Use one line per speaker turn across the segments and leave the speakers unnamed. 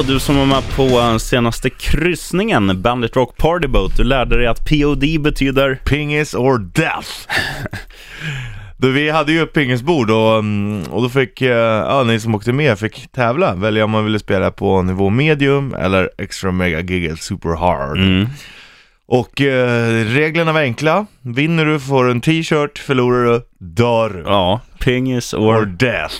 Och du som var med på eh, senaste kryssningen, Bandit Rock Party Boat, du lärde dig att POD betyder...
Pingis or death. Du, vi hade ju ett pingisbord och, mm, och då fick eh, ja, ni som åkte med fick tävla, välja om man ville spela på nivå medium eller extra mega giga super hard.
Mm.
Och eh, reglerna var enkla. Vinner du får du en t-shirt, förlorar du dör du.
Ja, pingis
Or
or
death.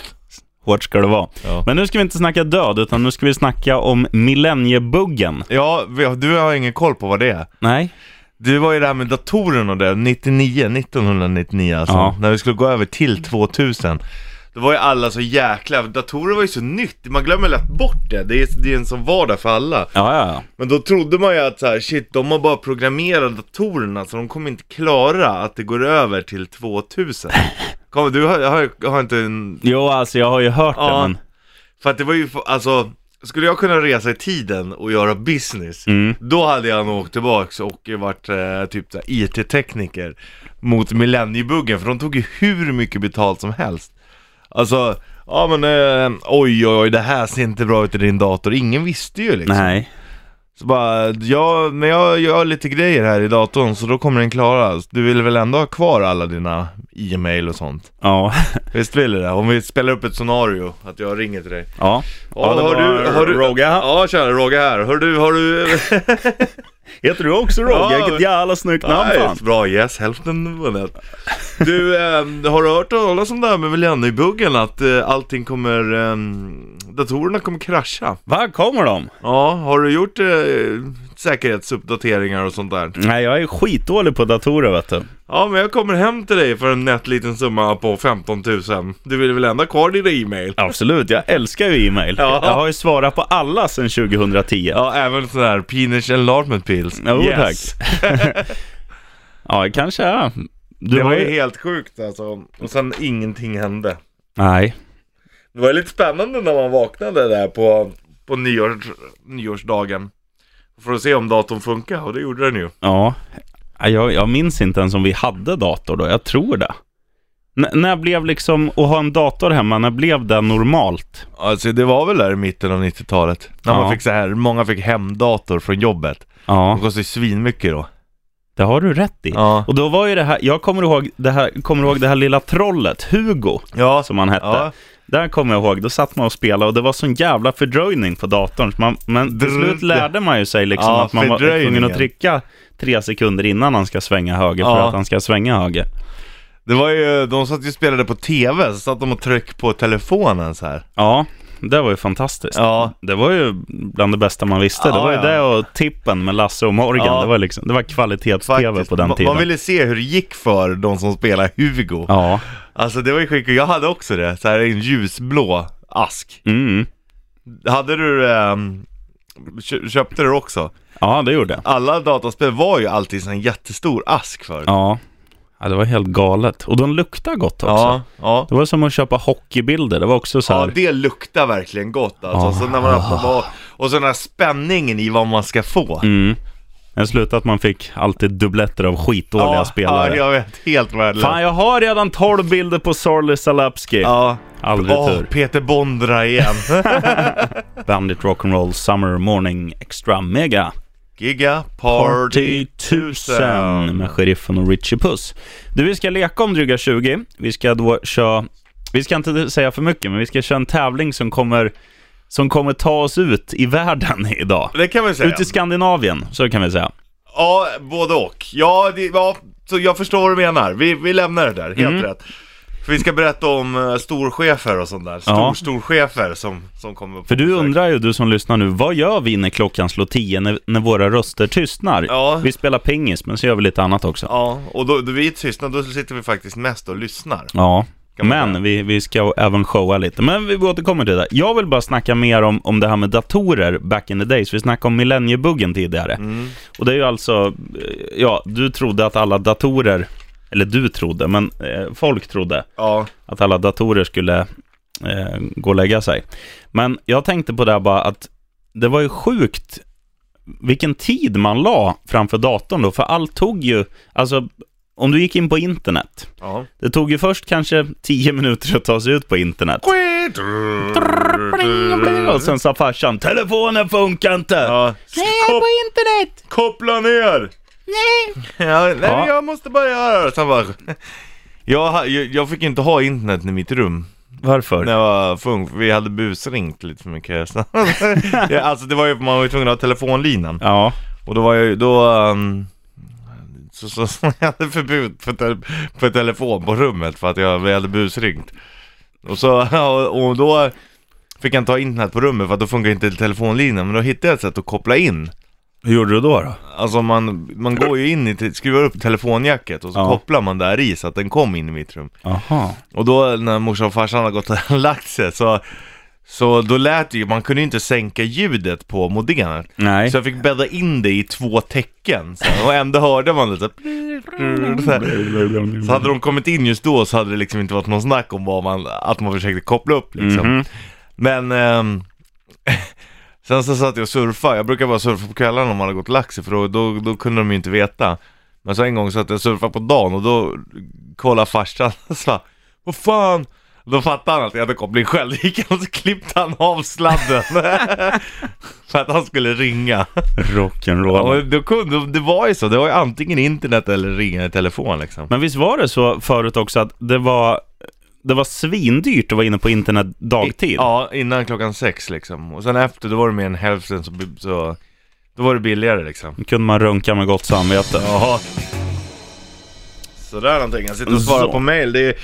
hårt ska det vara.
Ja.
Men nu ska vi inte snacka död, utan nu ska vi snacka om millenniebuggen.
Ja, vi- du har ingen koll på vad det är.
Nej?
Det var ju det här med datorerna och det, 99, 1999 alltså,
Ja.
när vi skulle gå över till 2000. Då var ju alla så jäkla, datorer var ju så nytt, man glömmer lätt bort det. Det är, det är en som var där för alla.
Ja, ja, ja.
Men då trodde man ju att så här, shit, de har bara programmerat datorerna så de kommer inte klara att det går över till 2000. Kom, du har, har, har inte en...
Jo, alltså jag har ju hört
Ja.
det, men...
För att det var ju, alltså, skulle jag kunna resa i tiden och göra business,
Mm.
då hade jag nog åkt tillbaks och varit eh, typ så här IT-tekniker mot millenniebuggen, för de tog ju hur mycket betalt som helst. Alltså, ja men eh, oj oj oj, det här ser inte bra ut i din dator. Ingen visste ju liksom.
Nej.
Så bara, ja, men jag gör lite grejer här i datorn så då kommer den klara. Du vill väl ändå ha kvar alla dina e-mail och sånt?
Ja.
Visst vill du det? Om vi spelar upp ett scenario, att jag ringer till dig.
Ja.
Ja,
det
har
var
du, har du,
Roga.
Ja, tjena, Roger här. Hör du, har du...
Heter du också Roger?
Ja.
Vilket jävla snyggt namn
Nej,
fan.
Bra, yes, hälften vunnet. Du, ehm, har du hört talas om det här med millenniebuggen? Att eh, allting kommer, ehm, datorerna kommer krascha?
Var kommer de?
Ja, har du gjort eh, säkerhetsuppdateringar och sånt där?
Nej, jag är skitdålig på datorer vet du.
Ja, men jag kommer hem till dig för en nätt liten summa på 15 000. Du vill väl ändå ha kvar dina e-mail?
Absolut, jag älskar ju e-mail.
Ja.
Jag har ju svarat på alla sedan 2010.
Ja, även sådana här penis enlargement pills.
Jo, tack. Ja, det kanske är. Du
Det var ju helt sjukt alltså. Och sen ingenting hände.
Nej.
Det var lite spännande när man vaknade där på, på nyår, nyårsdagen. För att se om datorn funkar och det gjorde den ju.
Ja. Nej, Jag, jag minns inte ens om vi hade dator då. Jag tror det. N- när blev liksom, att ha en dator hemma, när blev det normalt?
Alltså det var väl där i mitten av 90-talet. När
Ja.
man fick så här, många fick hemdator från jobbet.
Ja,
De kostade ju svinmycket då.
det har du rätt i.
Ja.
Och då var ju det här, jag kommer ihåg det här, kommer ihåg det här lilla trollet, Hugo,
Ja,
som han hette.
ja.
Där kommer jag ihåg, då satt man och spelade och det var sån jävla fördröjning på datorn. Så Man, men till
Drr-
slut lärde man ju sig liksom
Ja,
att man var tvungen
fördröjningen.
att trycka tre sekunder innan han ska svänga höger för
Ja.
att han ska svänga höger.
Det var ju, de satt ju och spelade på TV, så satt de och tryckte på telefonen så här.
Ja, det var ju fantastiskt.
Ja.
Det var ju bland det bästa man visste. det
Ja,
var ju
ja.
det och Tippen med Lasse och Morgan.
Ja.
Det var, liksom, det var kvalitets-tv
Faktiskt.
på den
Man-
tiden.
Man ville se hur det gick för de som spelade Hugo.
Ja,
Alltså det var ju skickligt, jag hade också det. Så här en ljusblå ask.
mm.
Hade du, ehm, kö- köpte du också?
ja det gjorde jag.
Alla dataspel var ju alltid sån här jättestor ask förr.
Ja. ja, det var helt galet. Och de luktar gott också.
ja. ja.
Det var som att köpa hockeybilder. Det var också så
Ja,
här.
det luktar verkligen gott alltså.
Ja.
Så när man öppnar på, och så den här spänningen i vad man ska få.
Mm. Jag slutade att man fick alltid dubbletter av skitdåliga
ja,
spelare.
Ja, jag vet. Helt
Fan,
värdelöst.
jag har redan 12 bilder på Sarli Salapski.
Ja.
Aldrig
Åh,
tur.
Peter Bondra igen.
Bandit Rock'n'Roll Summer Morning Extra Mega.
Giga
Party
Party
1000
1000.
med Sheriffen och Richie Puss. Du, vi ska leka om dryga 20. Vi ska då köra, vi ska inte säga för mycket, men vi ska köra en tävling som kommer, som kommer ta oss ut i världen idag.
Det kan vi säga.
Ut i Skandinavien, så kan vi säga.
Ja, både och. Ja, det, ja så jag förstår vad du menar. Vi, vi lämnar det där, helt
Mm.
rätt. För vi ska berätta om uh, storchefer och sånt där. Stor,
Ja.
Storchefer som, som kommer på
För du
besök.
undrar ju, du som lyssnar nu, vad gör vi när klockan slår 10, när, när våra röster tystnar?
Ja.
Vi spelar pingis, men så gör vi lite annat också.
Ja, och då, då vi är tystna, då sitter vi faktiskt mest och lyssnar.
Ja.
Kan man
Men vi, vi ska även showa lite. Men vi återkommer till det. Jag vill bara snacka mer om, om det här med datorer back in the days. Vi snackade om millenniebuggen tidigare.
Mm.
Och det är ju alltså, eh, ja, du trodde att alla datorer, eller du trodde, men eh, folk trodde
Ja,
att alla datorer skulle eh, gå och lägga sig. Men jag tänkte på det här bara att det var ju sjukt vilken tid man la framför datorn då, för allt tog ju, alltså om du gick in på internet,
Ja.
det tog ju först kanske 10 minuter att ta sig ut på internet. Och sen sa farsan, telefonen funkar inte!
Ja.
Nej,
Kop-
på internet!
koppla ner!
Nej!
Ja, nej,
Ja.
jag måste bara göra det. Sen bara, jag, ha- jag, jag fick inte ha internet i mitt rum
Varför?
när jag var för ung, för vi hade busringt lite för mycket. Så- ja, alltså det var ju, man var ju tvungen att ha telefonlinan.
Ja,
Och då var jag ju, då... ehm, så, så, så jag hade förbud på, te, på telefon på rummet för att jag, vi hade busringt. Och så, och, och då fick jag inte ha internet på rummet för att då funkar inte telefonlinan. Men då hittade jag ett sätt att koppla in.
hur gjorde du då? då?
Alltså man, man går ju in i, te- skruvar upp telefonjacket och så
Ja.
kopplar man där i så att den kom in i mitt rum.
Aha.
Och då när morsan och farsan hade gått och lagt sig så, så då lät det ju, man kunde ju inte sänka ljudet på modemet.
Nej.
Så jag fick bädda in det i två tecken så, här. och ändå hörde man lite så, här. så hade de kommit in just då så hade det liksom inte varit någon snack om vad man, att man försökte koppla upp liksom.
Mhm.
Men ehm, sen så satt jag och surfade. Jag brukar bara surfa på kvällarna om man hade gått och lagt sig för då, då, då kunde de ju inte veta. Men så en gång satt jag och surfade på dagen och då kollade farsan och sa Vad fan? Då fattade han att jag hade koppling själv. Då gick han och så klippte han av sladden. för att han skulle ringa.
Rock'n'roll.
Och då kunde, det var ju så. Det var ju antingen internet eller ringa i telefon liksom.
Men visst var det så förut också att det var, det var svindyrt att vara inne på internet dagtid?
Ja, innan klockan sex liksom. Och sen efter, då var det mer än hälften så, så då var det billigare liksom.
Då kunde man runka med gott samvete.
Jaha. Sådär någonting. Jag sitter och svarar
Så.
på mail. Det är,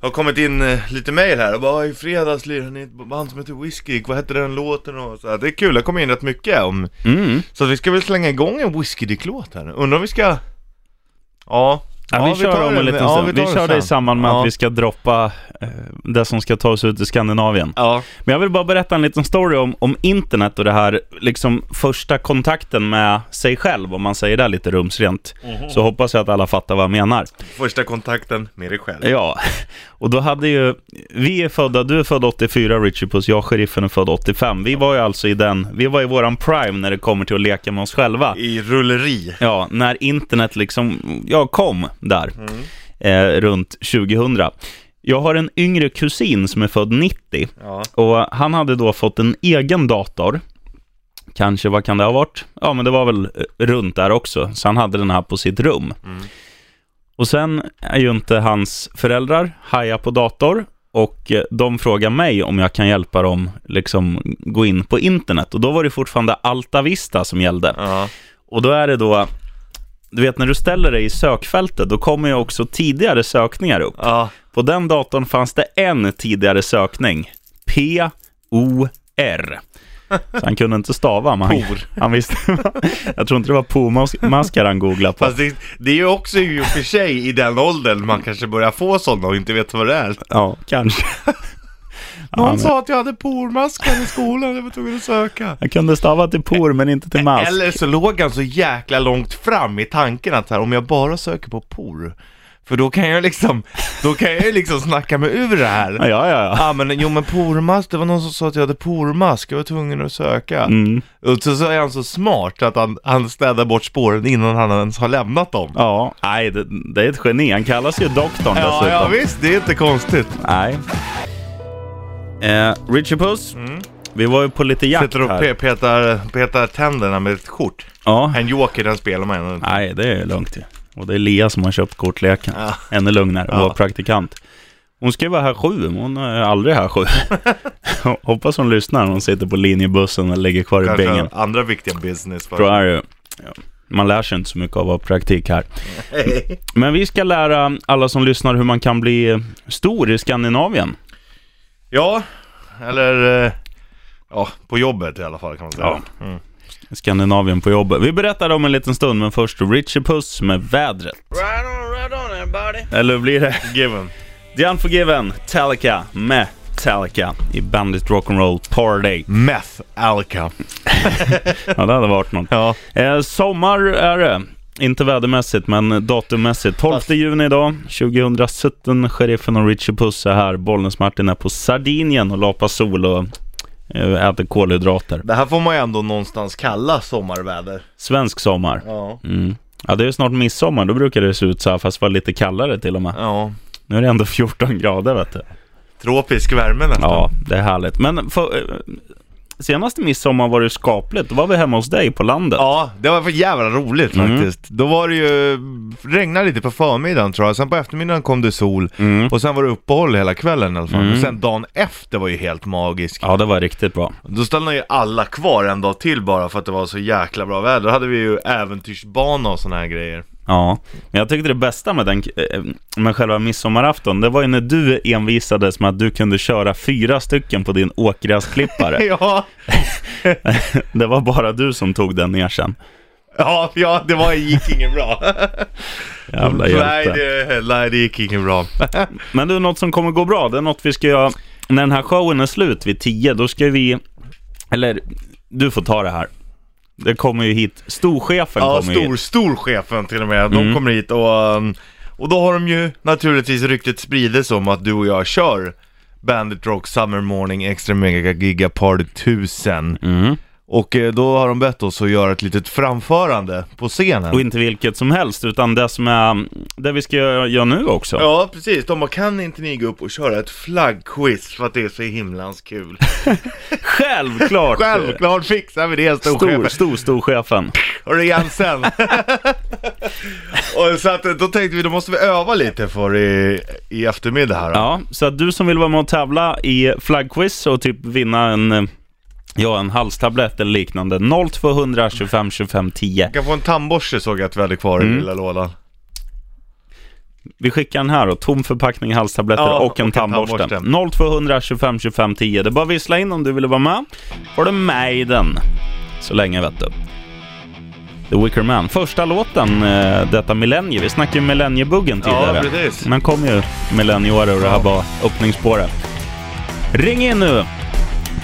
har kommit in eh, lite mail här och bara i fredags lirade ni ett band som heter Whiskey. Vad hette den låten och så här. Det är kul, det kommer in rätt mycket om.
Mm.
Så att vi ska väl slänga igång en Whiskey Dick-låt här nu. Undrar om vi ska... Ja.
Ja, vi, kör
tar
om en
den-
liten
ja,
stund. Vi,
tar den
kör det i
sen.
samband med
Ja.
att vi ska droppa eh, det som ska ta oss ut i Skandinavien.
Ja.
Men jag vill bara berätta en liten story om, om internet och det här liksom första kontakten med sig själv, om man säger det lite rumsrent.
Mhm.
Så hoppas jag att alla fattar vad jag menar.
Första kontakten med dig själv.
Ja, och då hade ju, vi är födda, du är född 84 Richie Puss, jag sheriffen är född 85. Vi var ju alltså i den, vi var i våran prime när det kommer till att leka med oss själva.
I rulleri.
Ja, när internet liksom, ja, kom där eh, runt 2000. Jag har en yngre kusin som är född 90
Ja.
och han hade då fått en egen dator. Kanske, vad kan det ha varit? Ja, men det var väl eh, runt där också, så han hade den här på sitt rum.
Mm.
Och sen är ju inte hans föräldrar haja på dator och eh, de frågar mig om jag kan hjälpa dem liksom gå in på internet. Och då var det fortfarande Alta Vista som gällde.
Ja.
Och då är det då, du vet när du ställer dig i sökfältet, då kommer ju också tidigare sökningar upp.
Ja.
På den datorn fanns det en tidigare sökning. P-O-R. Så han kunde inte stava, men han,
Por.
han visste. Jag tror inte det var Po-maskar han googlade på.
Fast det, det är ju också i och för sig i den åldern man kanske börjar få sådana och inte vet vad det är.
Ja, kanske.
Någon
Ja, men-
sa att jag hade pormasken i skolan, jag var tvungen att söka.
Han kunde stava till por, men inte till mask.
Eller så låg han så jäkla långt fram i tanken att så här, om jag bara söker på por, för då kan jag liksom, då kan jag ju liksom snacka mig ur det
Ja,
här.
ja, ja.
Ja men jo men pormask, det var någon som sa att jag hade pormask, jag var tvungen att söka.
Mm.
Och så, så är han så smart att han, han städar bort spåren innan han ens har lämnat dem.
Ja, nej, det, det är ett geni. Han kallas ju doktorn
Ja,
dessutom.
ja visst, det är inte konstigt.
Nej. Eh, Richie Puss, vi var ju på lite jakt
Mm. Sätter och
här.
pe- petar, petar tänderna med ett kort.
Ja.
En joker den spelar man ändå inte.
Nej, det är lugnt ju. Och det är Lea som har köpt kortleken.
Ja.
Ännu lugnare, hon
Ja.
var praktikant. Hon ska ju vara här sju, men hon är aldrig här sju. Hoppas hon lyssnar när hon sitter på linjebussen och ligger kvar i bängen.
Kanske andra viktiga business.
Tror
För.
jag ju. Ja. Man lär sig inte så mycket av att ha praktik här. Men vi ska lära alla som lyssnar hur man kan bli stor i Skandinavien.
Ja, eller eh, ja, på jobbet i alla fall kan man säga. Mm.
Skandinavien på jobbet. Vi berättar om en liten stund, men först Richie Puss med vädret.
Right on, right on everybody.
Eller blir det?
Given.
The Unforgiven, Talica med Talica i Bandit Rock'n'Roll Party.
Meth Alka.
Ja, det hade varit något.
Ja.
Eh, sommar är det. Inte vädermässigt, men datummässigt. 12 juni idag, 2017. Sheriffen och Richie Puss är här. Bollnäs-Martin är på Sardinien och lapar sol och eh, äter kolhydrater.
Det här får man ju ändå någonstans kalla sommarväder.
Svensk sommar.
Ja.
Mm. Ja, det är ju snart midsommar. Då brukar det se ut så här, fast vara lite kallare till och med.
Ja.
Nu är det ändå 14 grader, vet du.
Tropisk värme nästan.
Ja, det är härligt. Men för, eh, senaste midsommar var det ju skapligt. Då var vi hemma hos dig på landet.
Ja, det var för jävla roligt
Mm.
faktiskt. Då var det ju, regnade lite på förmiddagen tror jag, sen på eftermiddagen kom det sol
Mm.
och sen var det uppehåll hela kvällen i alla fall.
Mm.
Och sen dagen efter var ju helt magisk.
Ja, det var riktigt bra.
Då stannade ju alla kvar en dag till bara för att det var så jäkla bra väder. Då hade vi ju äventyrsbana och såna här grejer.
Ja, men jag tyckte det bästa med, den, eh, med själva midsommarafton, det var ju när du envisades med att du kunde köra fyra stycken på din åkgräsklippare.
Ja,
det var bara du som tog den ner sen.
ja, ja det var, gick ingen bra.
Jävla
nej,
hjälte.
det, nej, det gick ingen bra.
Men du, något som kommer gå bra, det är något vi ska göra när den här showen är slut vid 10, då ska vi, eller du får ta det här. Det kommer ju hit, storchefen
Ja,
kommer ju
stor,
hit.
storchefen till och med. De
Mm.
kommer hit och... um, Och då har de ju naturligtvis ryktet spridits om att du och jag kör Bandit Rock Summer Morning Extra Mega Giga Party 1000.
Mm.
Och eh, då har de bett oss att göra ett litet framförande på scenen.
Och inte vilket som helst, utan det som är, det vi ska göra göra nu också.
Ja, precis. De bara, kan inte ni gå upp och köra ett flaggquiz för att det är så himlans kul?
Självklart!
Självklart fixar vi det,
Stor,
storchefen.
stor, storchefen.
Hörru Jensen! och så att, då tänkte vi, då måste vi öva lite för i, i eftermiddag här. då.
Ja, så att du som vill vara med och tävla i flaggquiz och typ vinna en, eh, ja, en halstablett eller liknande. 0200 25 25 10.
Jag kan få en tandborste såg jag att vi hade kvar i lilla lådan.
Vi skickar den här då. Tom förpackning halstabletter
Ja,
och en tandborste. 0200 25 25 10. Det är bara att vissla in om du vill vara med. Får du med i den. Så länge vet du. The Wicker Man. Första låten eh, detta millennium. Vi snackade ju millenniebuggen tidigare.
Ja, precis.
Men kom ju millenniåret och det här
Ja.
var öppningsspåret. Ring in nu!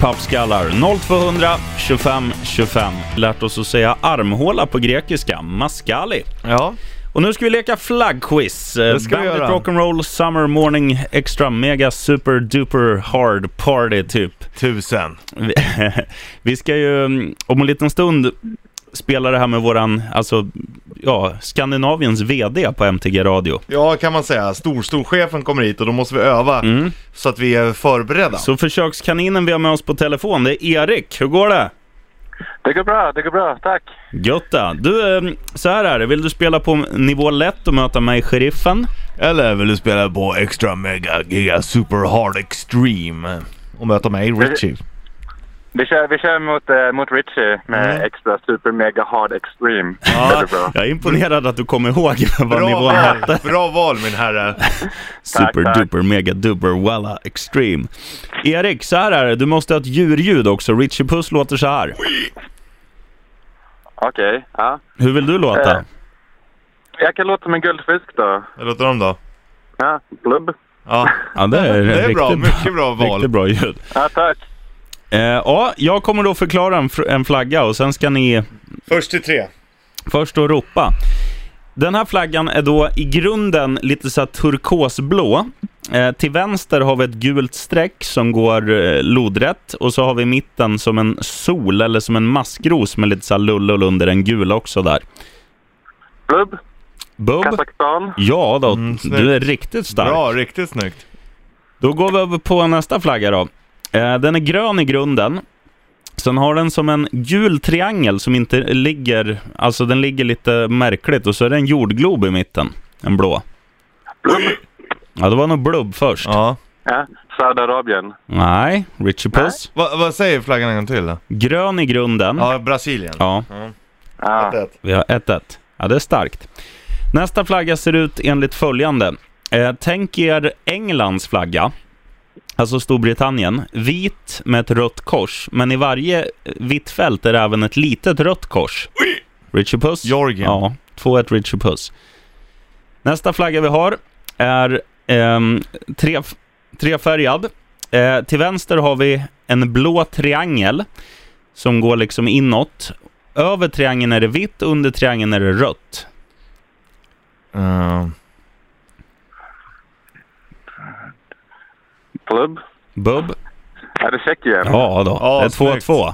Pappskallar 0200 25 25. Lärt oss att säga armhåla på grekiska, maskali.
Ja.
Och nu ska vi leka flaggquiz. Eh,
Det ska vi
Bandit
göra.
Rock'n'Roll Summer Morning Extra Mega Super Duper Hard Party typ.
Tusen.
Vi, vi ska ju mm, om en liten stund spela det här med våran, alltså, ja, Skandinaviens VD på MTG Radio.
Ja, kan man säga. Storstorchefen kommer hit och då måste vi öva
Mm.
så att vi är förberedda.
Så försökskaninen vi har med oss på telefon, det är Erik. Hur går det?
Det går bra, det går bra, tack.
Götta. Du, eh, så här är det. Vill du spela på nivå lätt och möta mig, sheriffen?
Eller vill du spela på Extra Mega Giga Super Hard Extreme? Och möta mig, Richie.
Vi kör, vi kör mot, eh, mot Richie med
Mm.
extra super mega hard extreme.
Ja.
Det blir bra.
Jag är imponerad att du kommer ihåg vad
Bra
nivån hette.
val, bra val min herre.
Tack,
Super
tack.
duper mega duper walla extreme. Erik, så här är det. Du måste ha ett djurljud också. Richie Puss låter så här.
Okej, ja.
Hur vill du låta?
Eh. Jag kan låta som en guldfisk då.
Hur låter de då?
Ja, blubb.
Ja,
Ja, det är,
det är
riktigt
bra. Mycket bra
Riktigt
val.
bra ljud.
Ja, tack.
Eh, ja, jag kommer då förklara en, fr- en flagga och sen ska ni
Först till tre.
först då ropa. Den här flaggan är då i grunden lite så här turkosblå. Eh, till vänster har vi ett gult streck som går eh, lodrätt och så har vi i mitten som en sol eller som en maskros med lite så här lullull under den gula också där.
Blubb,
Bub.
Kazakstan.
Ja då,
snyggt.
du är riktigt stark.
Mm, Bra, riktigt snyggt.
Då går vi över på nästa flagga då. Eh, den är grön i grunden. Sen har den som en gul triangel som inte ligger, alltså den ligger lite märkligt och så är det en jordglob i mitten. En blå.
Blubb.
Ja, det var nog blubb först.
Ja.
Ja, Saudiarabien.
Nej, Richie Puss.
Va, vad säger flaggan en gång till
Mm.
då?
Grön i grunden. Ja.
Ja, Brasilien.
Ja.
vi har 1-1. Ja, det är starkt. Nästa flagga ser ut enligt följande. Eh, tänk er Englands flagga, alltså Storbritannien, vit med ett rött kors, men i varje eh, vitt fält är det även ett litet rött kors. Richie Puss.
Georgien.
Ja, 2-1 Richie Puss. Nästa flagga vi har är ehm, tre, trefärgad. Eh, till vänster har vi en blå triangel som går liksom inåt. Över triangeln är det vitt, under triangeln är det rött.
Mm.
Blubb.
Bub?
Är det Tjeckien?
Ja då,
Ja,
det är
snyggt.
2-2.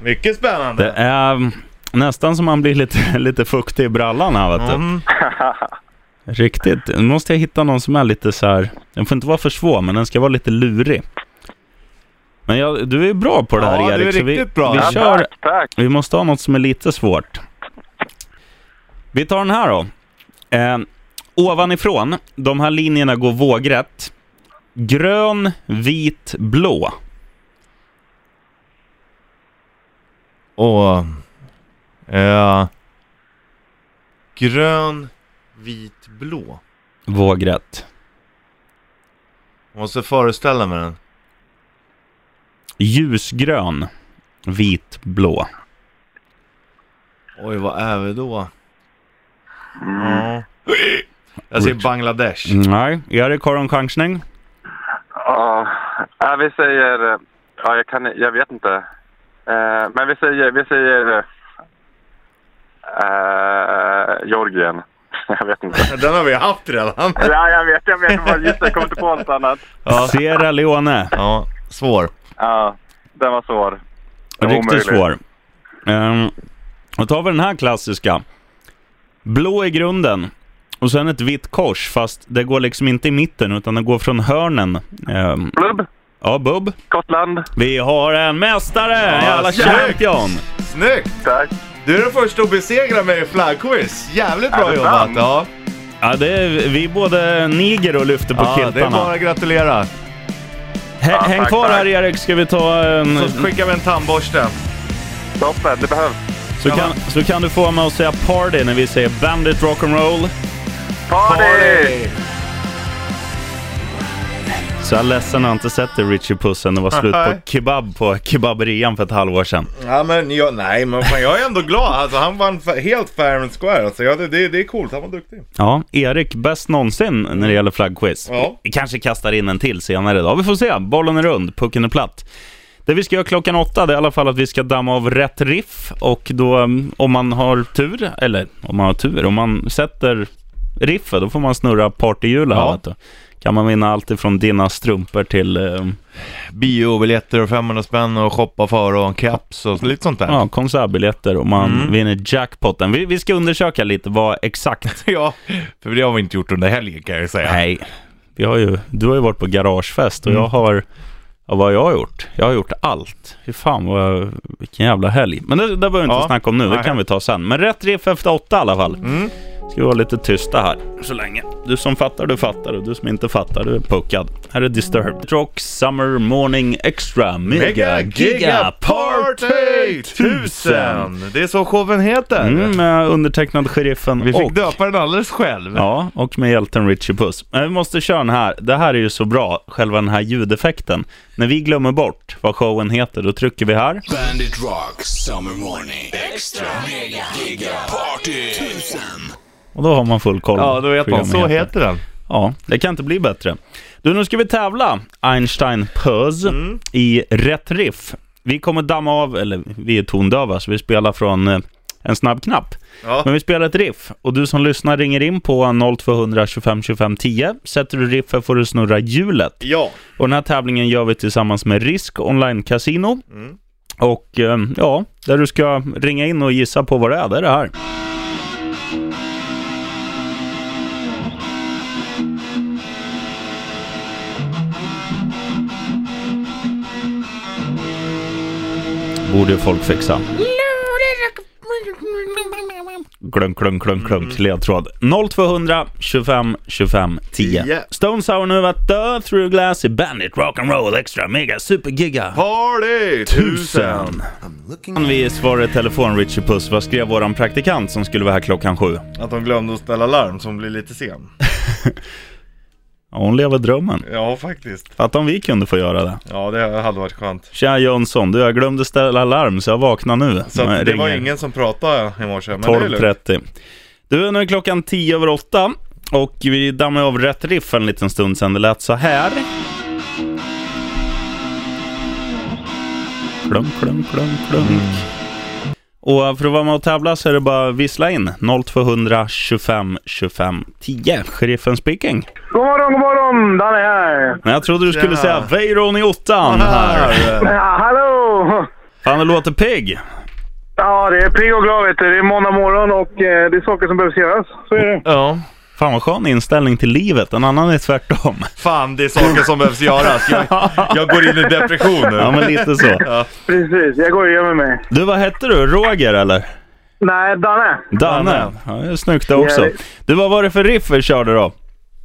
Mycket spännande.
Det är... Nästan som man blir lite, lite fuktig i brallan här vet du.
Mm.
Riktigt. Nu måste jag hitta någon som är lite så här. Den får inte vara för svår, men den ska vara lite lurig. Men jag, du är bra på det här
Ja, du är
Erik, så vi,
riktigt bra.
vi
Ja,
kör.
Tack, tack.
Vi måste ha något som är lite svårt. Vi tar den här då. Eh, ovanifrån, de här linjerna går vågrätt. Grön, vit, blå.
Och... Eh, grön, vit, blå.
Vågrätt.
Måste föreställa mig den.
Ljusgrön, vit, blå.
Oj, vad är vi då? Ja. Jag säger Bangladesh.
Nej, Erik har en chansning.
Ja, ja, vi säger... eh, Ja, jag, kan, jag vet inte. Eh, men vi säger... Vi säger eh, Georgien. Jag vet inte.
Den har vi haft redan.
Ja, jag vet. Jag vet. Bara, just det, jag kom inte på något annat.
Ja.
Sierra Leone.
ja, svår.
Ja, den var svår. Det var
Riktigt
omöjligt.
svår. Um, då tar vi den här klassiska. Blå i grunden och sen ett vitt kors fast det går liksom inte i mitten utan det går från hörnen. Ehm,
Blubb,
ja, Bubb.
Skottland.
Vi har en mästare!
Ja,
Jävla
snyggt!
champion!
Snyggt!
Tack.
Du är den första att besegra mig i flaggquiz. Jävligt
Är
bra
det
jobbat.
sant?
Ja.
Ja, det är, vi både niger och lyfter på
ja, det är
kiltarna.
bara att gratulera.
Hä-
Ja,
Häng
tack,
kvar
tack.
här Erik, ska vi ta ehm, en...
Så skickar vi en tandborste.
Toppen, det behövs.
Så kan, så kan du få mig att säga party när vi säger Bandit Rock'n'Roll.
Party!
Så jag är ledsen att jag inte sett det Richie Pussen. Det var slut
Nej.
på kebab på kebaberian för ett halvår sedan.
Ja men jag, nej men fan, jag är ändå glad. Alltså, han vann fa- helt fair and square. Alltså, ja, det, det, det är coolt, han var duktig.
Ja, Erik bäst någonsin när det gäller flaggquiz.
Ja.
Vi kanske kastar in en till senare idag. Vi får se. Bollen är rund, pucken är platt. Det vi ska göra klockan åtta det är i alla fall att vi ska damma av rätt riff och då mm, om man har tur, eller om man har tur, om man sätter riffet då får man snurra partyhjulet.
Ja.
Ja. Kan man vinna allt ifrån dina strumpor till eh,
Biobiljetter och 500 spänn och shoppa för och en caps och lite sånt där.
ja, konsertbiljetter och man
Mm.
vinner jackpotten. Vi, vi ska undersöka lite vad exakt
Ja, för det har vi inte gjort under helgen kan jag ju säga.
Nej, vi har ju, du har ju varit på garagefest och
Mm.
jag har, ja, vad har jag gjort? Jag har gjort allt. Fy fan, vad, vilken jävla helg. Men det, det behöver vi inte
Ja.
snacka om nu, det
Nej. Mm.
kan vi ta sen. Men rätt riff efter åtta i alla fall. Ska vi vara lite tysta här så länge. Du som fattar, du fattar och du som inte fattar, du är puckad. Här är Disturbed. Rock Summer Morning Extra Mega, Giga Party 1000!
Det är så showen heter.
Mm, med undertecknad sheriffen
Vi fick
och
döpa den alldeles själv.
Ja, och med hjälten Richie Puss. Men vi måste köra den här. Det här är ju så bra, själva den här ljudeffekten. När vi glömmer bort vad showen heter, då trycker vi här.
Bandit Rock Summer Morning Extra Mega Giga Party 1000
Och då har man full koll.
Ja, då vet man.
Programmet
Så heter den.
Ja, det kan inte bli bättre. Du, nu ska vi tävla, Einstein Puss,
Mm.
i rätt riff. Vi kommer damma av, eller vi är tondöva, så vi spelar från eh, en snabb knapp.
Ja.
Men vi spelar ett riff och du som lyssnar ringer in på 0200 25 25 10. Sätter du riffet får du snurra hjulet.
Ja.
Och den här tävlingen gör vi tillsammans med Risk Online Casino. Och eh, ja, där du ska ringa in och gissa på vad det är, det är det här. Borde ju folk fixa. Klunk, klunk, klunk, klunk, ledtråd. 0200 25 25 10.
Yeah.
Stone Sour nu att dö, Through Glass i Bandit Rock'n'Roll Extra Mega Super Giga
Party 1000!
Vi svarar i telefon Richie Puss. Vad skrev våran praktikant som skulle vara här klockan sju?
Att de glömde att ställa larm som blir lite sen.
Ja, hon lever drömmen.
Ja, faktiskt.
Fattar om vi kunde få göra det.
Ja, det hade varit skönt.
Tja Jönsson, du jag glömde ställa larm så jag vaknar nu.
Så att det var
Ringer
ingen som pratade i morse, men det är lugnt.
12.30. Du, nu är klockan 10 över 8 och vi dammar av rätt riff en liten stund sedan. Det lät så här. Klunk, klunk, klunk, klunk.
Mm.
Och eh, för att vara med och tävla så är det bara att vissla in 0200 25 25 10. Sheriffen speaking.
God morgon, god morgon! Danne här.
Men jag trodde du skulle
Tjena.
säga Veiron i ottan här.
Här. eh,
Ja, hallå!
Fan, du låter pigg.
Ja, det är pigg och glad vet du. Det är måndag morgon och eh, det är saker som behövs göras. Så är det.
Ja.
Fan vad skön inställning till livet. En annan är tvärtom.
Fan, det är saker som behövs göras. Jag, jag går in i depression nu.
Ja, men lite så.
Precis, jag går och gömmer mig.
Du, vad hette du? Roger eller?
Nej, Danne.
Danne.
Danne.
Ja, det är snyggt det också.
Jävligt.
Du, vad var det för riff vi körde då?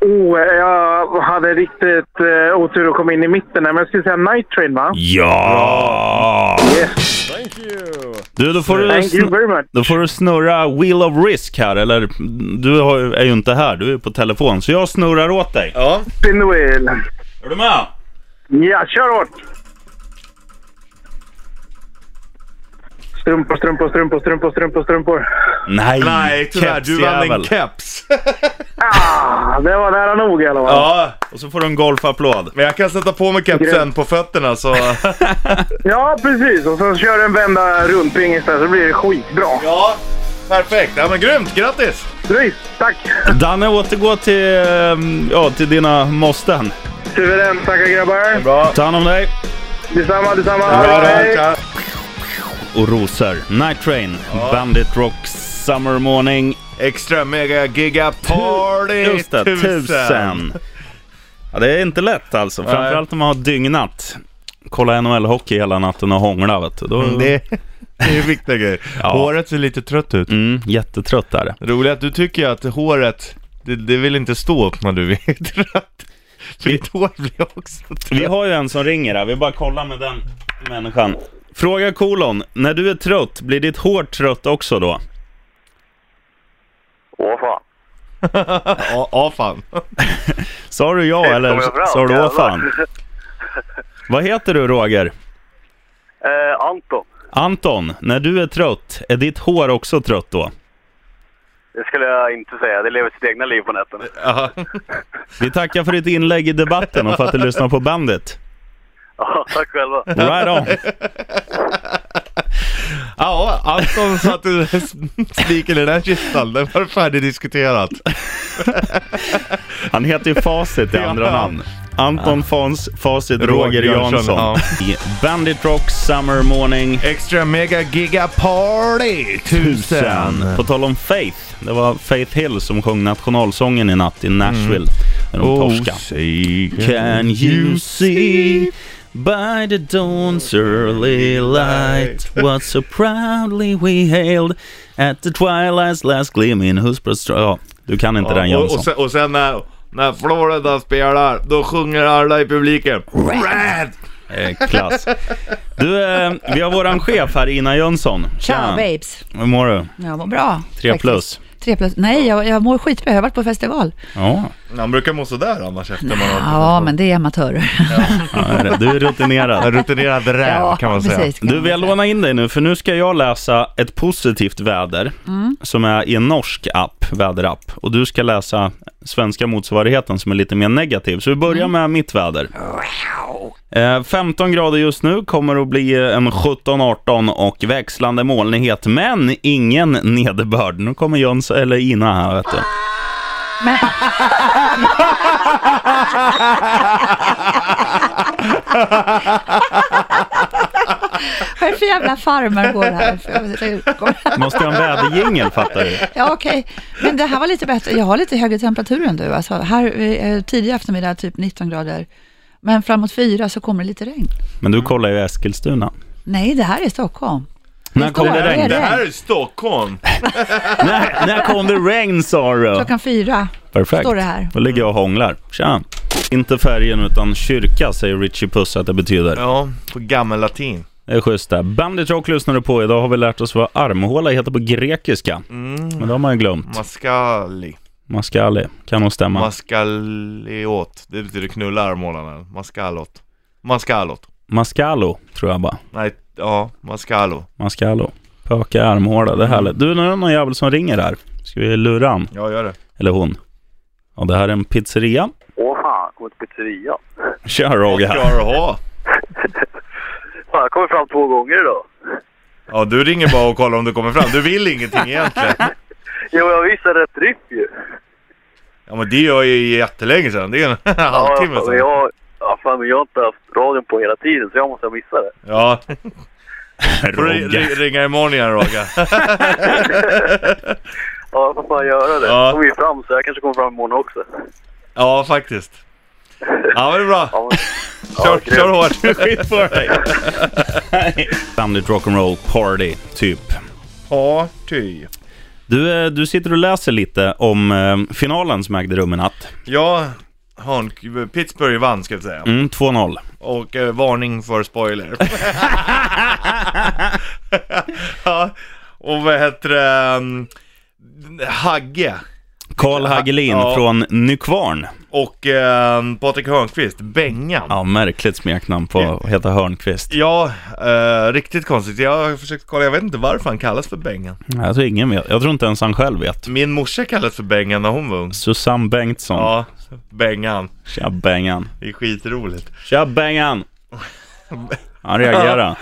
Oh, jag hade riktigt eh, otur att komma in i mitten där, men jag skulle säga Night Train va?
Ja!
Thank you!
Du, då får du,
Thank you
sn-
very much.
då får du snurra Wheel of Risk här, eller du har, är ju inte här, du är på telefon, så jag snurrar åt dig.
Ja.
Spin the wheel.
Är du med?
Ja, kör hårt! Strumpor, strumpor, strumpor, strumpor, strumpor, strumpor.
Nej,
Nej, tyvärr. Du vann
kepsjävel.
en keps.
Ah, det var nära nog i alla fall.
Ja,
Och så får du en golfapplåd.
men jag kan sätta på mig kepsen på fötterna så...
Ja, precis. Och så kör du en vända rundpingis där så blir det skitbra.
Ja, perfekt. Ja, men grymt. Grattis!
Snyggt! Tack!
Danne, återgå till, ehm, ja, till dina måsten.
Suveränt. Tackar grabbar.
Bra.
Ta hand om dig.
Detsamma, detsamma.
Bra,
Hej.
tack.
Och rosor. Night Train, Bandit Rock, Summer Morning.
Extra mega giga party
Just det,
tusen.
tusen. Ja, det är inte lätt alltså. Framförallt om man har dygnat. Kolla NHL-hockey hela natten och hångla vet du. Då,
Mm, Det är, det är viktiga grejer.
Ja.
Håret ser lite trött ut.
mm, jättetrött är det.
Roligt att du tycker att håret, det, det vill inte stå upp när du är trött. För ditt hår blir också
Vi
trött.
har ju en som ringer här. Vi bara kollar med den människan. Fråga kolon. När du är trött, blir ditt hår trött också då?
Åh fan.
Ja, ja fan.
Sa du ja
Det
eller
kommer fram,
sa du åh
jävlar.
fan? Vad heter du Roger?
Eh, Anton,
Anton, när du är trött, är ditt hår också trött då?
det skulle jag inte säga. Det lever sitt egna liv på nätterna.
Ja.
Vi tackar för ditt inlägg i debatten och för att du lyssnar på bandet.
Ja, tack själva.
Right on.
Ja, Anton satte spiken i den här kistan. Det var färdigdiskuterat.
Han heter ju Facit i andra
Ja.
namn. Anton Fons, Facit, Roger,
Roger
Jansson.
Jansson, ja.
I Bandit Rock Summer Morning
Extra mega giga party tusen.
1000. På tal om Faith, det var Faith Hill som sjöng nationalsången i natt i Nashville.
Mm.
När de
Oh,
torskade. Can you see by the dawn's early light what so proudly we hailed at the twilight's last gleam in Husbros... Ja, du kan inte den
och,
Jönsson.
och sen, och sen när, när Florida spelar, då sjunger alla i publiken Red!
Eh, Klass. Du, eh, vi har våran chef här, Ina Jönsson.
Tja babes.
Hur mår du?
Jag mår bra.
Tre
faktiskt.
plus.
Tre plus. Nej, jag, jag mår skitbra. Jag har varit på festival.
Ja,
Han brukar må sådär annars efter man
Ja, men det är amatörer.
ja, du är rutinerad.
En rutinerad räv kan man säga.
precis. kan
Du,
man
vi har
säga.
lånat in dig nu, för nu ska jag läsa ett positivt väder
Mm.
som är i en norsk app, väderapp. Och du ska läsa svenska motsvarigheten som är lite mer negativ. Så vi börjar
Mm.
med mitt väder. Eh, 15 grader just nu, kommer att bli eh, en 17-18 och växlande molnighet, men ingen nederbörd. Nu kommer Jöns, eller Ina här vet du.
Men, vad är det för jävla farmar går här?
Måste jag ha en väderjingel fattar du?
Ja, okej. Men det här var lite bättre. Jag har lite högre temperatur än du. Alltså, här eh, tidig eftermiddag, typ 19 grader. Men framåt fyra så kommer det lite regn.
Men du kollar ju Eskilstuna.
Nej, det här är Stockholm.
När kom det
Stora
regn?
är
Det här är Stockholm!
När, när kom det regn sa du?
Klockan fyra.
Perfekt.
står det här.
Då ligger jag och hånglar. Tja. Inte färgen utan kyrka säger Richie Puss att det betyder.
Ja, på gammal latin.
Det är schysst det. Bandit Rock lyssnar du på. Idag har vi lärt oss vad armhåla heter på grekiska.
Mm.
Men det har man ju glömt.
Mascali.
Mascali. Kan nog stämma.
Mascaliot. Det betyder knulla armhålan. Mascalot. Mascalot.
Mascalo, tror jag bara.
Nej, ja, mascalo.
Mascalo. Pöka armhåla, det är härligt. Du, nu är det någon jävel som ringer här. Ska vi lura han?
Ja, gör det.
Eller hon? Ja, det här är en pizzeria.
Åh fan, kom till pizzeria.
Tja Roger.
Klarar du ha?
Fan, jag kommer fram två gånger idag.
Ja, du ringer bara och kollar om du kommer fram. Du vill ingenting egentligen.
Jo, jag visar rätt riff ju.
Ja, men det gör jag ju jättelänge sedan. Det är en halvtimme
men
sedan.
jag, ja, fan, men jag har inte haft radion på hela tiden så jag måste ha missat det.
Ja, Får du
Rogge.
ri- ringa imorgon igen Rogge.
Ja, vad fan göra det?
Ja.
Jag kommer ju fram så jag kanske kommer fram imorgon också.
Ja, faktiskt. Ja, men det är bra.
Ja, men-
Kör,
grymt.
kör hårt.
Skit på dig. Standard rock'n'roll party, typ.
Party.
Du, eh, du sitter och läser lite om eh, finalen som ägde rum i natt.
Ja, Hon- Pittsburgh vann ska jag säga.
Mm, 2-0.
Och eh, varning för spoiler. ja, och vad heter det? ehm, Hagge
Karl Hagelin
Ja.
från Nykvarn.
och eh, Patrik Hörnqvist, Bengan.
Ja, märkligt smeknamn på att heta Hörnqvist.
Ja, eh, riktigt konstigt. Jag har försökt kolla, jag vet inte varför han kallas för Bengan.
Jag tror alltså ingen vet. Jag tror inte ens han själv vet.
Min morsa kallades för Bengan när hon var ung.
Susanne Bengtsson.
Ja, Bengan.
Tja Bengan.
Det är skitroligt.
Tja Bengan! Han reagerar.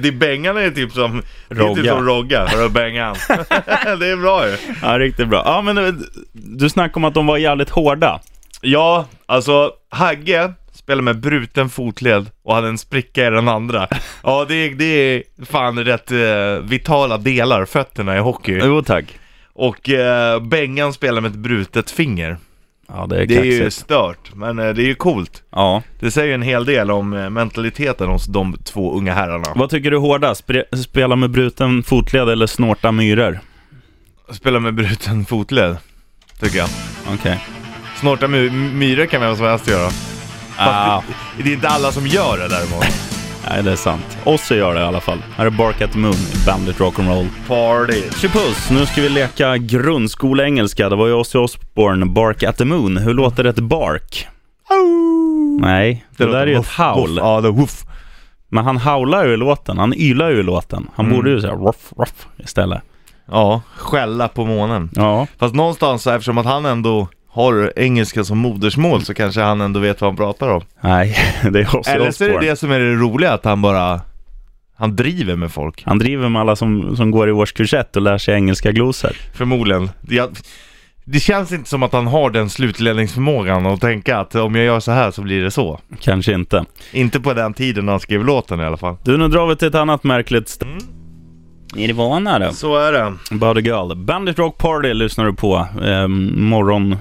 Det är Bengan är typ som Rogga. Det är typ
Rogga.
som Rogga, hörru Bengan. det är bra ju.
Ja, riktigt bra. Ja, men eh, du snackade om att de var jävligt hårda.
Ja, alltså Hagge spelar med bruten fotled och hade en spricka i den andra. Ja, det, är- det är fan rätt eh, vitala delar, fötterna i hockey.
Jo, tack.
Och eh, Bengan spelar med ett brutet finger.
Ja, det är
Det är ju
kaxigt.
stört, men eh, det är ju coolt.
Ja.
Det säger ju en hel del om eh, mentaliteten hos de två unga herrarna.
Vad tycker du är hårdast? Spre- Spela med bruten fotled eller snorta myror?
Spela med bruten fotled, tycker jag.
Okej.
Snorta my- myror kan vem som helst göra.
Ah,
Det är inte alla som gör det däremot.
nej, det är sant. Ozzy gör det i alla fall. Här är Bark at the Moon, Bandit Rock'n'Roll.
Party.
Puss, nu ska vi leka grundskoleengelska. Det var ju Ozzy Osbourne, Bark at the Moon. Hur låter ett bark? Nej, det, där
låter
är ju ett
woof, woof.
howl.
Ja, det är woof.
Men han howlar ju i låten, han ylar ju i låten. Han
Mm.
borde ju säga ruff, ruff istället.
Ja, skälla på månen.
Ja.
Fast någonstans så eftersom att han ändå har engelska som modersmål så kanske han ändå vet vad han pratar om.
Nej, det är Ozzy
Eller så är det
Osbourne.
det som är det roliga, att han bara... Han driver med folk.
Han driver med alla som, som går i årskurs 1 och lär sig engelska glosor.
Förmodligen. Jag, det känns inte som att han har den slutledningsförmågan att tänka att om jag gör så här så blir det så.
Kanske inte.
Inte på den tiden han skrev låten i alla fall.
Du, nu drar vi till ett annat märkligt ställe.
Mm.
Nirvana då?
Så är det.
About a girl. Bandit Rock Party lyssnar du på. Eh, morgon... eh,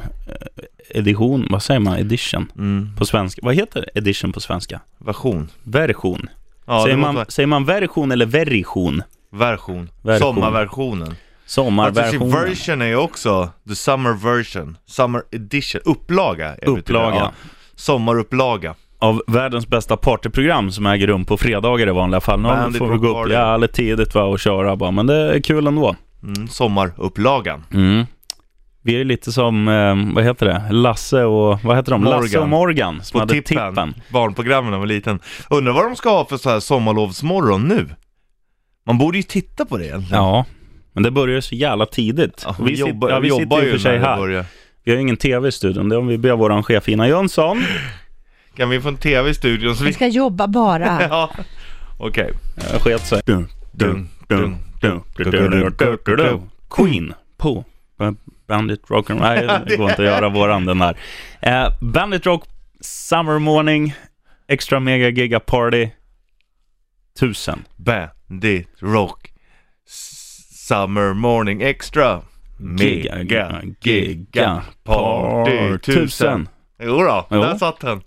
Edition, vad säger man? Edition
Mm.
på svenska. Vad heter edition på svenska?
Version.
Version.
Ja, det
säger,
måste
man,
vara-
säger man version eller version?
Version.
Version.
Sommarversionen. Version.
Sommarversionen.
Version Alltså, är ju också the summer version. Summer edition. Upplaga. är det
Upplaga.
Ja. Sommarupplaga.
Av världens bästa partyprogram som äger rum på fredagar i vanliga fall. Nu
Bandit
får vi
Rock
gå upp
Party.
jävligt tidigt va, och köra bara, men det är kul ändå.
Mm, sommarupplagan.
Mm. Vi är ju lite som, eh, vad heter det, Lasse och, vad heter de?
Morgan.
Lasse och Morgan som
På
hade
tippen.
tippen.
Barnprogrammen när jag var liten. Undrar vad de ska ha för så här sommarlovsmorgon nu? Man borde ju titta på det egentligen.
Ja, men det börjar ju så jävla tidigt.
Ja,
Och vi
jobbar-
sitter, ja, vi
jobbar
sitter ju
ju
för sig
när det
här.
börjar.
Vi har ju ingen tv i studion, det är om vi ber vår chef Ina Jönsson.
Kan vi få en tv i studion så
Vi
vi...
ska jobba bara.
Ja. Okej.
Jag eh, sket sig. Queen på Bandit Rock and Nej, det går inte att göra våran den där. Eh, Bandit Rock Summer Morning Extra Mega Giga Party 1000.
Bandit Rock S- Summer Morning Extra Mega Giga, Party 1000 Jodå,
Jo.
där satt den!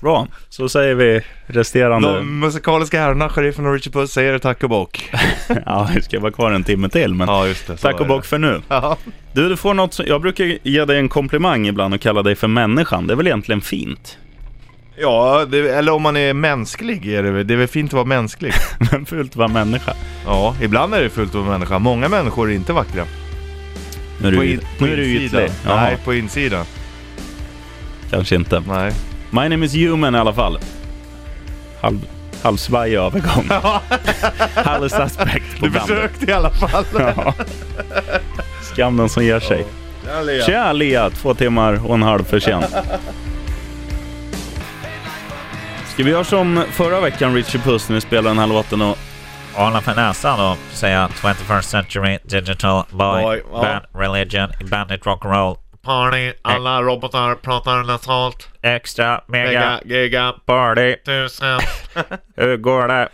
Bra, så säger vi resterande.
De musikaliska herrarna, sheriffen och Richard Puss säger tack och bock.
Ja, vi ska vara kvar en timme till, men
Ja, just det. så
tack och
är det.
bock för nu.
Ja.
Du, du får något som, jag brukar ge dig en komplimang ibland och kalla dig för människan. Det är väl egentligen fint?
Ja, det, eller om man är mänsklig är det väl. Det är väl fint att vara mänsklig.
Men fult att vara människa.
Ja, ibland är det fult att vara människa. Många människor är inte vackra.
Nu är
På,
du,
in, på
nu är du
insidan.
ytlig. Jaha,
Nej, på insidan.
kanske inte.
Nej.
My name is human i alla fall. Halv, halvsvajig övergång. Halv suspect på
Du
bandet.
försökte i alla fall.
Ja. Skam den som ger sig. Tja Lea, två timmar och en halv för sent. Ska vi göra som förra veckan, Richie Puss, när vi spelade den här låten och
Hålla för näsan och säga 21st Century Digital Boy,
Boy, ja.
Band Religion, Bandit Rock'n'Roll,
Party, alla robotar pratar nasalt.
Extra Mega,
Mega, giga,
Party.
tusen,
Hur går det?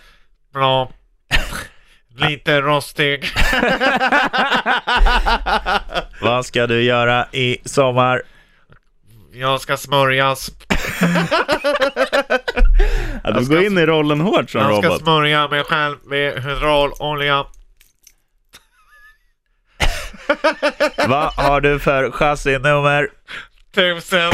bra. Lite rostig.
Vad ska du göra i sommar?
Jag ska smörjas.
Ja, du går in i rollen hårt som
Jag ska
robot.
smörja mig själv med hydraulolja.
Vad har du för chassinummer?
Tusen.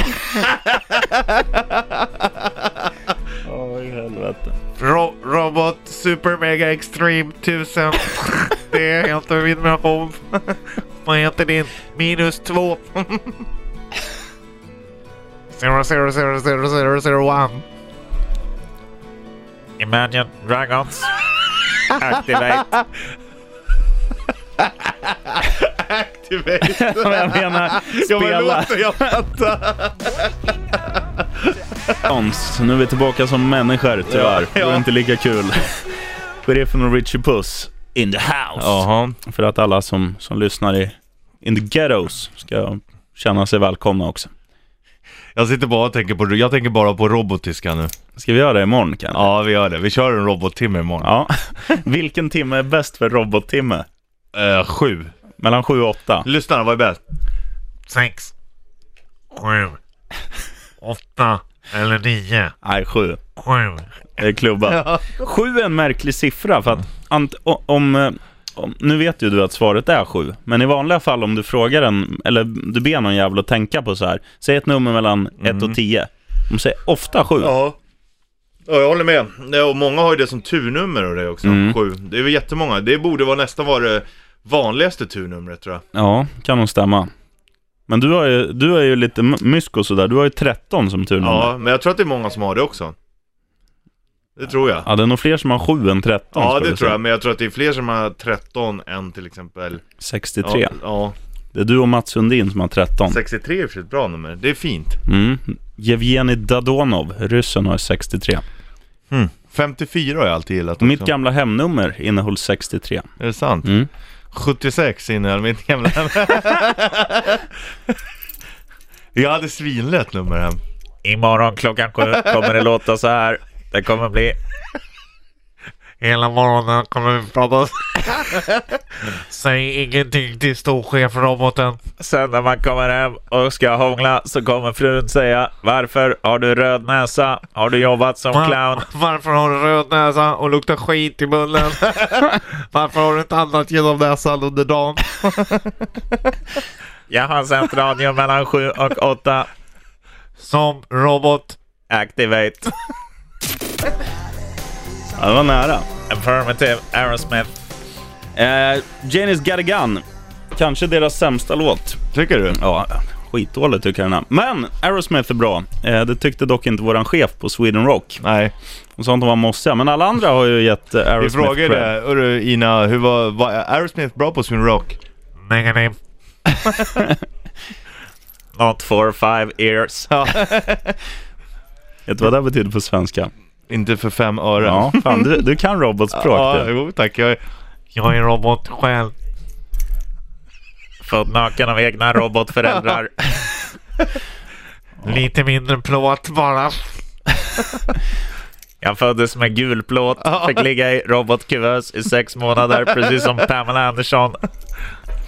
Oj, helvete.
Ro- robot Super Mega Extreme 1000. Det är helt en innovation. Vad heter din? Minus två. Zero, zero, zero, zero, zero, zero, one.
Imagine Dragons. Activate.
Activate.
Jag menar,
Ja, men
spela.
låter jag fatta.
Hans, Nu är vi tillbaka som människor tyvärr. Det var inte lika kul. Sheriffen och Richie Puss in the house.
Jaha.
För att alla som, som lyssnar i in the ghettos ska känna sig välkomna också.
Jag sitter bara och tänker på, jag tänker bara på robottyska nu.
Ska vi göra det imorgon kanske?
Ja, vi gör det. Vi kör en robottimme imorgon.
Ja. Vilken timme är bäst för robottimme?
Eh, sju.
Mellan 7 och 8.
Lyssnarna, vad är bäst?
Sex. Sju. Åtta. Eller nio.
Nej, 7.
Sju.
Det är klubba. 7 är en märklig siffra för att ant- o- om, eh, om... Nu vet ju du att svaret är 7. Men i vanliga fall om du frågar en, eller du ber någon jävel att tänka på så här. Säg ett nummer mellan 1 och 10. De säger ofta 7.
Ja. Ja, jag håller med. Ja, Och många har ju det som turnummer och det också.
Mm.
Sju. Det är väl jättemånga. Det borde vara nästan vara det vanligaste turnumret tror jag.
Ja, kan nog stämma. Men du, har ju, du är ju lite m- mysko sådär. Du har ju 13 som turnummer. Ja.
Ja, men jag tror att det är många som har det också. Det tror jag.
det är nog fler som har 7 än 13.
Ja,
skulle
det tror
säga.
jag. Men jag tror att det är fler som har 13 än till exempel...
63.
Ja, ja.
Det är du och Mats Sundin som har 13.
63 är för sig ett bra nummer. Det är fint.
Mm. Jevgenij Dadonov, ryssen, har 63.
54 har jag alltid gillat också.
Mitt gamla hemnummer innehöll 63.
Är det sant?
Mm.
76 innehöll mitt gamla hem. jag hade svinlätt nummer hem.
Imorgon klockan sju kommer det låta så här. Det kommer bli
Hela morgonen kommer vi prata. Säg ingenting till storchefroboten.
Sen när man kommer hem och ska hångla så kommer frun säga Varför har du röd näsa? Har du jobbat som
Va-
clown?
Varför har du röd näsa och luktar skit i munnen? Varför har du inte annat genom näsan under dagen?
Jag har sänt radio mellan 7 och 8.
Som robot.
Activate.
Ja, det var nära.
Affirmative Aerosmith.
Eh, Janis Got a Gun. Kanske deras sämsta låt.
Tycker du?
Ja, skitdålig tycker jag den här. Men Aerosmith är bra. Eh, det tyckte dock inte våran chef på Sweden Rock.
Nej.
Hon sa att de var mossiga, men alla andra har ju gett eh,
Vi
Aerosmith
frågar
cred.
det. Hörru Ina, hur var, var Aerosmith bra på Sweden Rock?
Negativ.
Not for five ears.
Vet du vad det här betyder på svenska?
Inte för fem öre.
Ja, fan du, du kan robotspråk
ja
du.
jo tack. Jag,
Jag är robot själv.
Född naken av egna robotföräldrar.
Lite mindre plåt bara.
Jag föddes med gul plåt. Fick ligga i robotkuvös i sex månader precis som Pamela Andersson.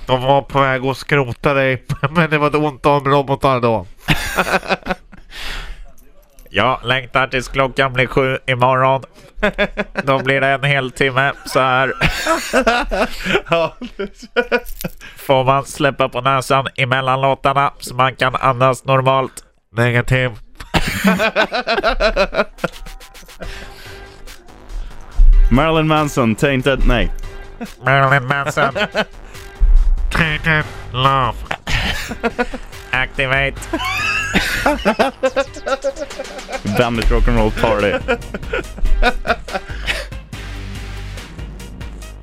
De var på väg att skrota dig. Men det var ett ont om robotar då.
Jag längtar tills klockan blir sju imorgon. Då blir det en hel timme så här. Får man släppa på näsan emellan låtarna så man kan andas normalt.
Negativ.
Marilyn Manson, Tainted, nej.
Marilyn Manson,
Tainted love.
activate.
Bandit Rock'n'Roll Party.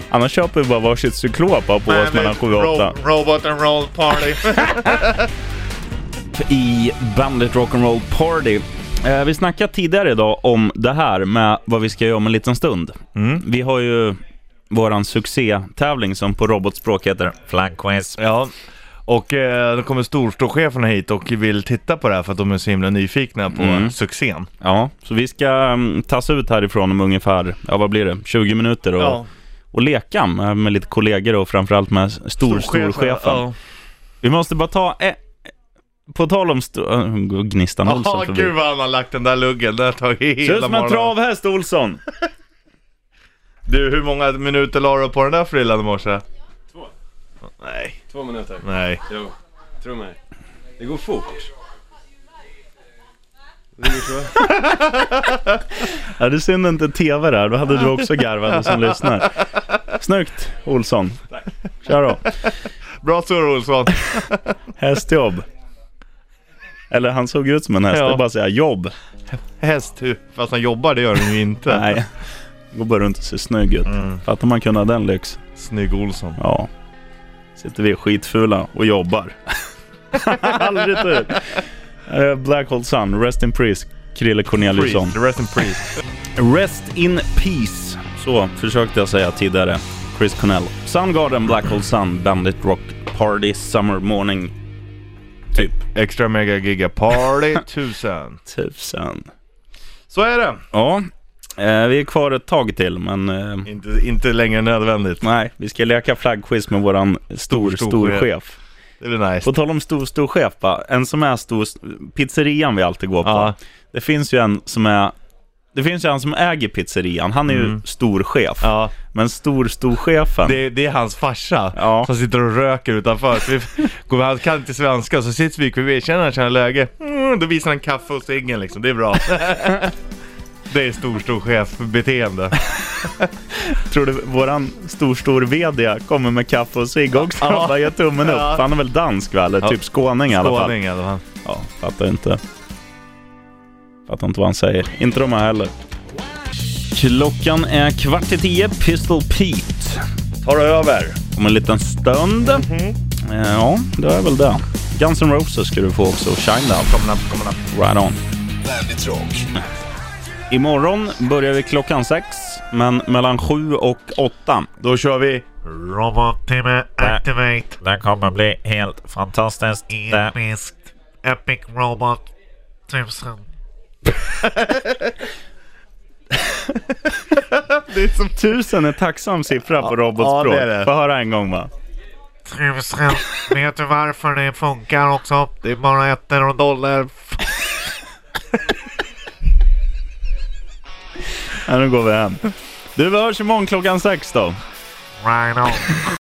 Annars köper vi bara varsitt cyklop och har på oss mellan 7 och 8.
Ro- robot and roll party.
I Bandit Rock'n'Roll Party. Eh, vi snackade tidigare idag om det här med vad vi ska göra om en liten stund. Vi har ju våran succétävling som på robotspråk heter
Flaggquiz.
ja. Och eh, då kommer storståcheferna hit och vill titta på det här för att de är så himla nyfikna på succén.
mm, Ja, så vi ska mm, tas ut härifrån om ungefär, ja vad blir det, 20 minuter och, och leka med, med lite kollegor och framförallt med stor, storchefen.
Ja.
Vi måste bara ta... Eh, på tal om sto- äh, Gnistan Olsson
Jaha,
förbi.
gud vad han har lagt den där luggen. Det har tagit
Ser
hela
ut som en
morgonen.
travhäst Olsson!
Du, hur många minuter la du på den där frillan i morse? Nej,
Två minuter.
nej.
Jo, tro mig. Det går fort. Det går så.
Ja, det är synd inte tv där, då hade du också garvat du som lyssnar. Snyggt Olsson! Kör då!
Bra surr Olsson.
Hästjobb! Eller han såg ut som en häst,
Ja.
det är bara att säga jobb.
Häst, hur- fast han jobbar det gör han ju inte.
Nej, går bara runt och ser snygg ut. Fattar man kunna den lyx.
Snygg Olsson.
Ja. Sitter vi skitfula och jobbar. Aldrig tur. Eh, Black Hole Sun, Rest in Peace, Krille Corneliusson.
Priest, rest in peace.
Rest in Peace. Så försökte jag säga tidigare. Chris Cornell. Soundgarden, Black Hole Sun, Bandit Rock Party, Summer Morning. Typ
Extra mega giga party 1000.
tusen.
Så är det.
Ja, eh, vi är kvar ett tag till men eh,
Inte, inte längre än nödvändigt.
nej, vi ska leka flaggquiz med våran stor, stor,
stor
stor
chef.
chef.
Det blir nice.
På tal om stor, stor chef, va? en som är stor, pizzerian vi alltid går på.
Ja.
Det finns ju en som är, det finns ju en som äger pizzerian, han är ju stor chef.
Mm. Ja,
Men stor, stor chefen,
det, det är hans farsa
Ja.
som sitter och röker utanför. Så vi, går, han kan inte svenska så sitter vi bredvid, känner han känner läge. Mm, då visar han kaffe och ciggen liksom, det är bra. Det är stor, stor chefbeteende.
tror du våran stor, stor VD kommer med kaffe och cigg också?
Ja.
Han bara ger tummen upp.
Ja.
Han är väl dansk va? Eller
Ja.
typ skåning i alla fall.
Skåning i alla fall.
Ja, fattar inte. Fattar inte vad han säger. Inte de här heller. Klockan är kvart i tio. Pistol Pete tar över om en liten stund.
Mhm.
Eh, Ja, det är väl det. Guns N' Roses ska du få också. Shine Down. Coming up, coming up. Right on.
Bandit Rock.
Imorgon börjar vi klockan sex, men mellan sju och åtta.
Då kör vi
Robottimme activate.
Den kommer bli helt fantastisk. Det-
Episkt. Epic Robot 1000.
Tusen är tacksam siffra på robotspråk.
ja, det är det.
Få höra en gång va?
1000. Vet du varför det funkar också? Det är bara ettor och dollar.
Ja, nu går vi hem. Du, vi hörs imorgon klockan sex då.
Right on.